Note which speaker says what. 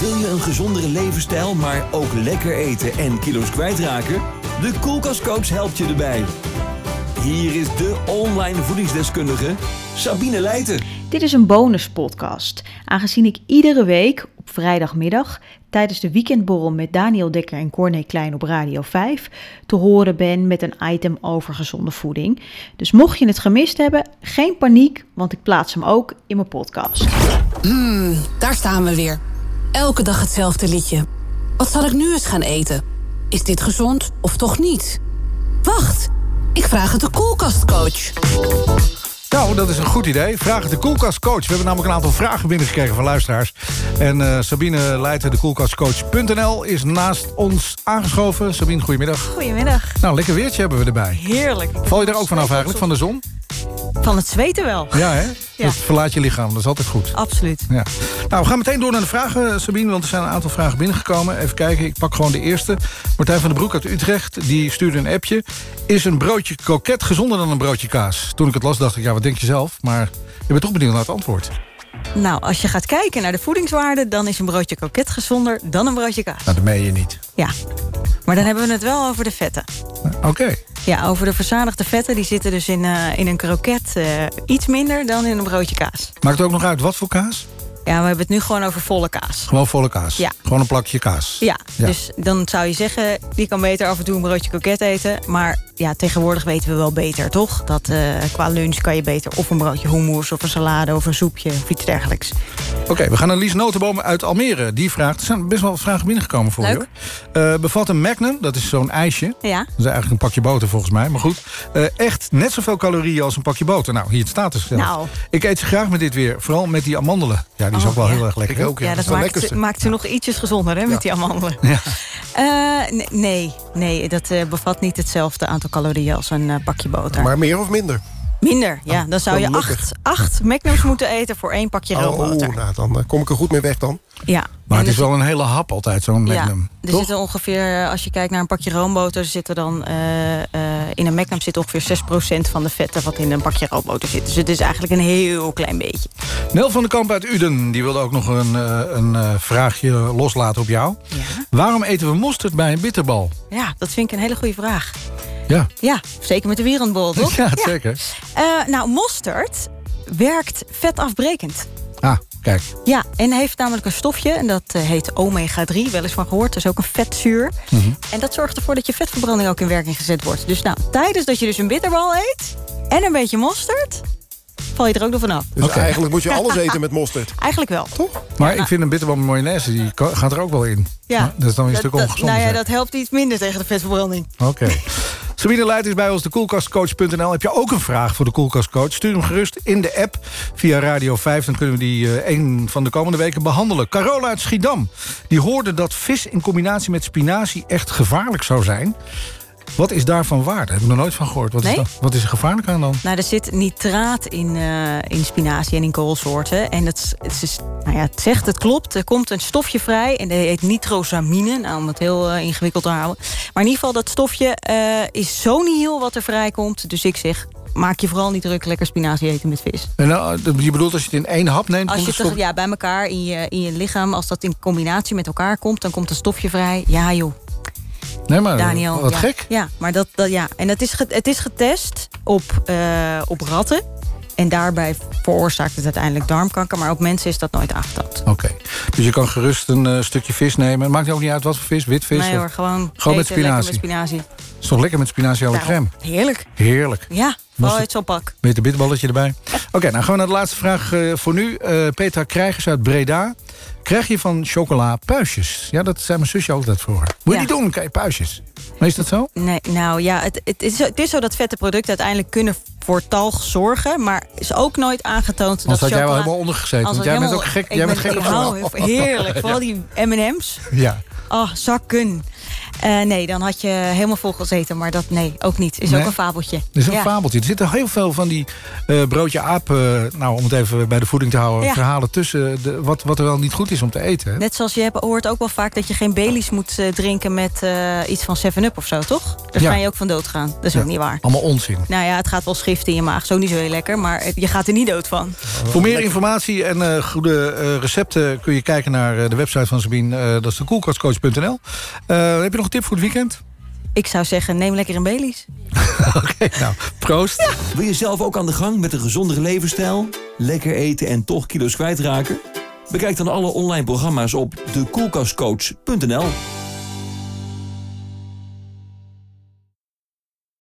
Speaker 1: Wil je een gezondere levensstijl, maar ook lekker eten en kilo's kwijtraken? De Koelkastcoach helpt je erbij. Hier is de online voedingsdeskundige Sabine Leijten.
Speaker 2: Dit is een bonuspodcast, aangezien ik iedere week op vrijdagmiddag tijdens de weekendborrel met Daniel Dekker en Corné Klein op Radio 5 te horen ben met een item over gezonde voeding. Dus mocht je het gemist hebben, geen paniek, want ik plaats hem ook in mijn podcast.
Speaker 3: Mmm, daar staan we weer. Elke dag hetzelfde liedje. Wat zal ik nu eens gaan eten? Is dit gezond of toch niet? Wacht, ik vraag het de koelkastcoach.
Speaker 4: Nou, dat is een goed idee. Vraag het de koelkastcoach. We hebben namelijk een aantal vragen binnengekregen van luisteraars. En eh, Sabine Leijten, de koelkastcoach.nl, is naast ons aangeschoven. Sabine, goedemiddag.
Speaker 5: Goedemiddag.
Speaker 4: Nou, lekker weertje hebben we erbij.
Speaker 5: Heerlijk.
Speaker 4: Val je er ook vanaf eigenlijk, van de zon?
Speaker 5: Van het zweten wel.
Speaker 4: Ja, hè? Dus verlaat je lichaam, dat is altijd goed.
Speaker 5: Absoluut.
Speaker 4: Ja. Nou, we gaan meteen door naar de vragen, eh, Sabine, want er zijn een aantal vragen binnengekomen. Even kijken, ik pak gewoon de eerste. Martijn van den Broek uit Utrecht, die stuurde een appje. Is een broodje kroket gezonder dan een broodje kaas? Toen ik het las dacht ik, ja, wat denk je zelf? Maar ik ben toch benieuwd naar het antwoord.
Speaker 5: Nou, als je gaat kijken naar de voedingswaarde... dan is een broodje koket gezonder dan een broodje kaas.
Speaker 4: Nou, dat meen je niet.
Speaker 5: Ja. Maar dan hebben we het wel over de vetten.
Speaker 4: Oké.
Speaker 5: Ja, over de verzadigde vetten. Die zitten dus in, eh, in een kroket eh, iets minder dan in een broodje kaas.
Speaker 4: Maakt het ook nog uit wat voor kaas?
Speaker 5: Ja, we hebben het nu gewoon over volle kaas.
Speaker 4: Gewoon volle kaas.
Speaker 5: Ja.
Speaker 4: Gewoon een plakje kaas.
Speaker 5: Ja,
Speaker 4: Ja.
Speaker 5: dus dan zou je zeggen... die kan beter af en toe een broodje koket eten. Maar ja, tegenwoordig weten we wel beter, toch? Dat eh, qua lunch kan je beter of een broodje hummus... of een salade of een soepje of iets dergelijks.
Speaker 4: Oké, we gaan naar Lies Notenboom uit Almere. Die vraagt, er zijn best wel wat vragen binnengekomen voor
Speaker 5: Leuk.
Speaker 4: je. hoor. Eh, bevat een magnum, dat is zo'n ijsje.
Speaker 5: Ja.
Speaker 4: Dat is eigenlijk een pakje boter volgens mij, maar goed. Eh, echt net zoveel calorieën als een pakje boter. Nou, hier het staat dus zelf.
Speaker 5: Nou.
Speaker 4: Ik eet ze graag met dit weer, vooral met die amandelen. Ja, die is
Speaker 5: Oh,
Speaker 4: ook wel
Speaker 5: ja.
Speaker 4: heel erg lekker.
Speaker 6: Ik ook,
Speaker 5: Ja,
Speaker 6: ja.
Speaker 5: dat,
Speaker 4: wel
Speaker 5: maakt,
Speaker 4: lekkerste.
Speaker 5: maakt ze nog ietsjes gezonder hè, met die amandelen.
Speaker 4: Ja.
Speaker 5: Eh, nee, nee, nee, dat eh, bevat niet hetzelfde aantal calorieën als een eh, pakje boter.
Speaker 6: Maar meer of minder?
Speaker 5: Minder,
Speaker 4: Oh,
Speaker 5: ja. Dan zou je
Speaker 6: gelukkig.
Speaker 5: acht, acht magnums moeten eten voor één pakje roomboter.
Speaker 6: nou, dan eh, kom ik er goed mee weg dan.
Speaker 5: Ja.
Speaker 4: Maar
Speaker 5: En
Speaker 4: het is
Speaker 5: er
Speaker 4: wel een hele hap altijd, zo'n
Speaker 5: zit- ja,
Speaker 4: magnum.
Speaker 5: er
Speaker 4: toch?
Speaker 5: zitten ongeveer, eh, als je kijkt naar een pakje roomboter, zitten dan eh, eh, in een magnum zit ongeveer 6% van de vetten wat in een pakje roomboter zit. Dus het is eigenlijk een heel klein beetje.
Speaker 4: Nel van den Kamp uit Uden, die wilde ook nog een, eh, een eh, vraagje loslaten op jou.
Speaker 5: Ja.
Speaker 4: Waarom eten we mosterd bij een bitterbal?
Speaker 5: ja, dat vind ik een hele goede vraag.
Speaker 4: Ja,
Speaker 5: Ja, zeker met de wereldbol, toch?
Speaker 4: ja, zeker.
Speaker 5: Eh, nou, mosterd werkt vetafbrekend.
Speaker 4: Ah, kijk.
Speaker 5: Ja, en heeft namelijk een stofje en dat eh, heet omega-3, wel eens van gehoord. Dat is ook een vetzuur.
Speaker 4: Mhm.
Speaker 5: En dat zorgt ervoor dat je vetverbranding ook in werking gezet wordt. Dus nou, tijdens dat je dus een bitterbal eet en een beetje mosterd, val je er ook nog vanaf.
Speaker 6: Dus eigenlijk moet je alles eten met mosterd.
Speaker 5: Eigenlijk wel.
Speaker 6: Toch?
Speaker 4: Maar ik vind een bitterbal met mayonaise, die ka- gaat er ook wel in. Maar Dat is dan weer een stuk ongezond.
Speaker 5: Nou ja, dat helpt iets minder tegen de vetverbranding.
Speaker 4: Oké. Sabine Leijt is bij ons, de koelkastcoach.nl. Heb je ook een vraag voor de koelkastcoach? Stuur hem gerust in de app via Radio 5. Dan kunnen we die eh een van de komende weken behandelen. Carola uit Schiedam, die hoorde dat vis in combinatie met spinazie echt gevaarlijk zou zijn. Wat is daarvan waar? Daar heb ik nog nooit van gehoord. Wat, is,
Speaker 5: Nee?
Speaker 4: dan- wat is er gevaarlijk aan dan?
Speaker 5: Nou, er zit nitraat in, eh, in spinazie en in koolsoorten. En dat, is- het, is, nou ja, het zegt, het klopt. Er komt een stofje vrij en dat heet nitrosamine. Nou, om het heel eh, ingewikkeld te houden. Maar in ieder geval, dat stofje eh, is zo nihil wat er vrijkomt. Dus ik zeg, maak je vooral niet druk. Lekker spinazie eten met vis.
Speaker 4: En, nou, je bedoelt als je het in één hap neemt?
Speaker 5: Als je
Speaker 4: komt
Speaker 5: het
Speaker 4: er
Speaker 5: toch, ja, bij elkaar in je, in je lichaam, als dat in combinatie met elkaar komt... dan komt een stofje vrij. Ja, joh.
Speaker 4: stop- nee, maar,
Speaker 5: Daniel.
Speaker 4: Oh, Wat
Speaker 5: ja.
Speaker 4: gek.
Speaker 5: Ja, maar dat, dat ja. En het is, ge- het is getest op, eh, op ratten. En daarbij veroorzaakt het uiteindelijk darmkanker. Maar op mensen is dat nooit aangetoond.
Speaker 4: Oké. Dus je kan gerust een eh, stukje vis nemen. Maakt ook niet uit wat voor vis, witvis.
Speaker 5: Nee
Speaker 4: of-
Speaker 5: hoor, gewoon,
Speaker 4: Gewoon met
Speaker 5: eten, lekker
Speaker 4: spinazie.
Speaker 5: spinazie.
Speaker 4: Is toch lekker met spinazie over crème?
Speaker 5: Daarom. Heerlijk.
Speaker 4: Heerlijk.
Speaker 5: Ja,
Speaker 4: Mosterd.
Speaker 5: vooral uit zo'n pak.
Speaker 4: Met een bitterballetje erbij. Oké, nou gaan we naar de laatste vraag eh, voor nu. Eh, Petra Krijgers uit Breda. Krijg je van chocola puistjes? Ja, dat zijn mijn zusje ook dat voor. Moet je
Speaker 5: Ja.
Speaker 4: niet doen, krijg je puistjes. Maar is dat zo?
Speaker 5: Nee, nou ja, het, het, is, zo- het is zo dat vette producten uiteindelijk kunnen voor talg zorgen. Maar is ook nooit aangetoond
Speaker 4: Anders
Speaker 5: dat
Speaker 4: had jij wel
Speaker 5: chocola-
Speaker 4: helemaal ondergezeten.
Speaker 5: Anders
Speaker 4: Want jij
Speaker 5: had
Speaker 4: bent
Speaker 5: ik
Speaker 4: ook
Speaker 5: helemaal-
Speaker 4: gek,
Speaker 5: ik
Speaker 4: jij bent
Speaker 5: ben-
Speaker 4: gek op
Speaker 5: ik hou
Speaker 4: chocola.
Speaker 5: heel- Heerlijk, vooral die M&M's.
Speaker 4: Ja.
Speaker 5: Oh, Ah, zakken. Eh, nee, dan had je helemaal vol gezeten. Maar dat, nee, ook niet. Is
Speaker 4: Nee?
Speaker 5: ook een fabeltje.
Speaker 4: Dat is een
Speaker 5: Ja.
Speaker 4: fabeltje. Er zitten heel veel van die eh, broodje aap, eh, nou om het even bij de voeding te houden,
Speaker 5: Ja.
Speaker 4: verhalen tussen de, wat, wat er wel niet goed is om te eten. hè?
Speaker 5: Net zoals je hebt, hoort ook wel vaak dat je geen Baileys moet eh, drinken met eh, iets van 7-Up of zo, toch? Daar
Speaker 4: Ja.
Speaker 5: kan je ook van dood gaan. Dat is
Speaker 4: Ja.
Speaker 5: ook niet waar.
Speaker 4: Allemaal onzin.
Speaker 5: Nou ja, het gaat wel schrift in je maag. Zo niet zo heel lekker, maar het- je gaat er niet dood van.
Speaker 4: Voor meer informatie en eh, goede eh, recepten kun je kijken naar eh, de website van Sabine. eh, dat is de koelkastcoach.nl. Eh, heb je nog een tip voor het weekend?
Speaker 5: Ik zou zeggen, neem lekker een Baileys.
Speaker 4: Oké, nou, proost.
Speaker 1: Wil je zelf ook aan de gang met een gezondere levensstijl? Lekker eten en toch kilo's kwijtraken? Bekijk dan alle online programma's op dekoelkastcoach.nl.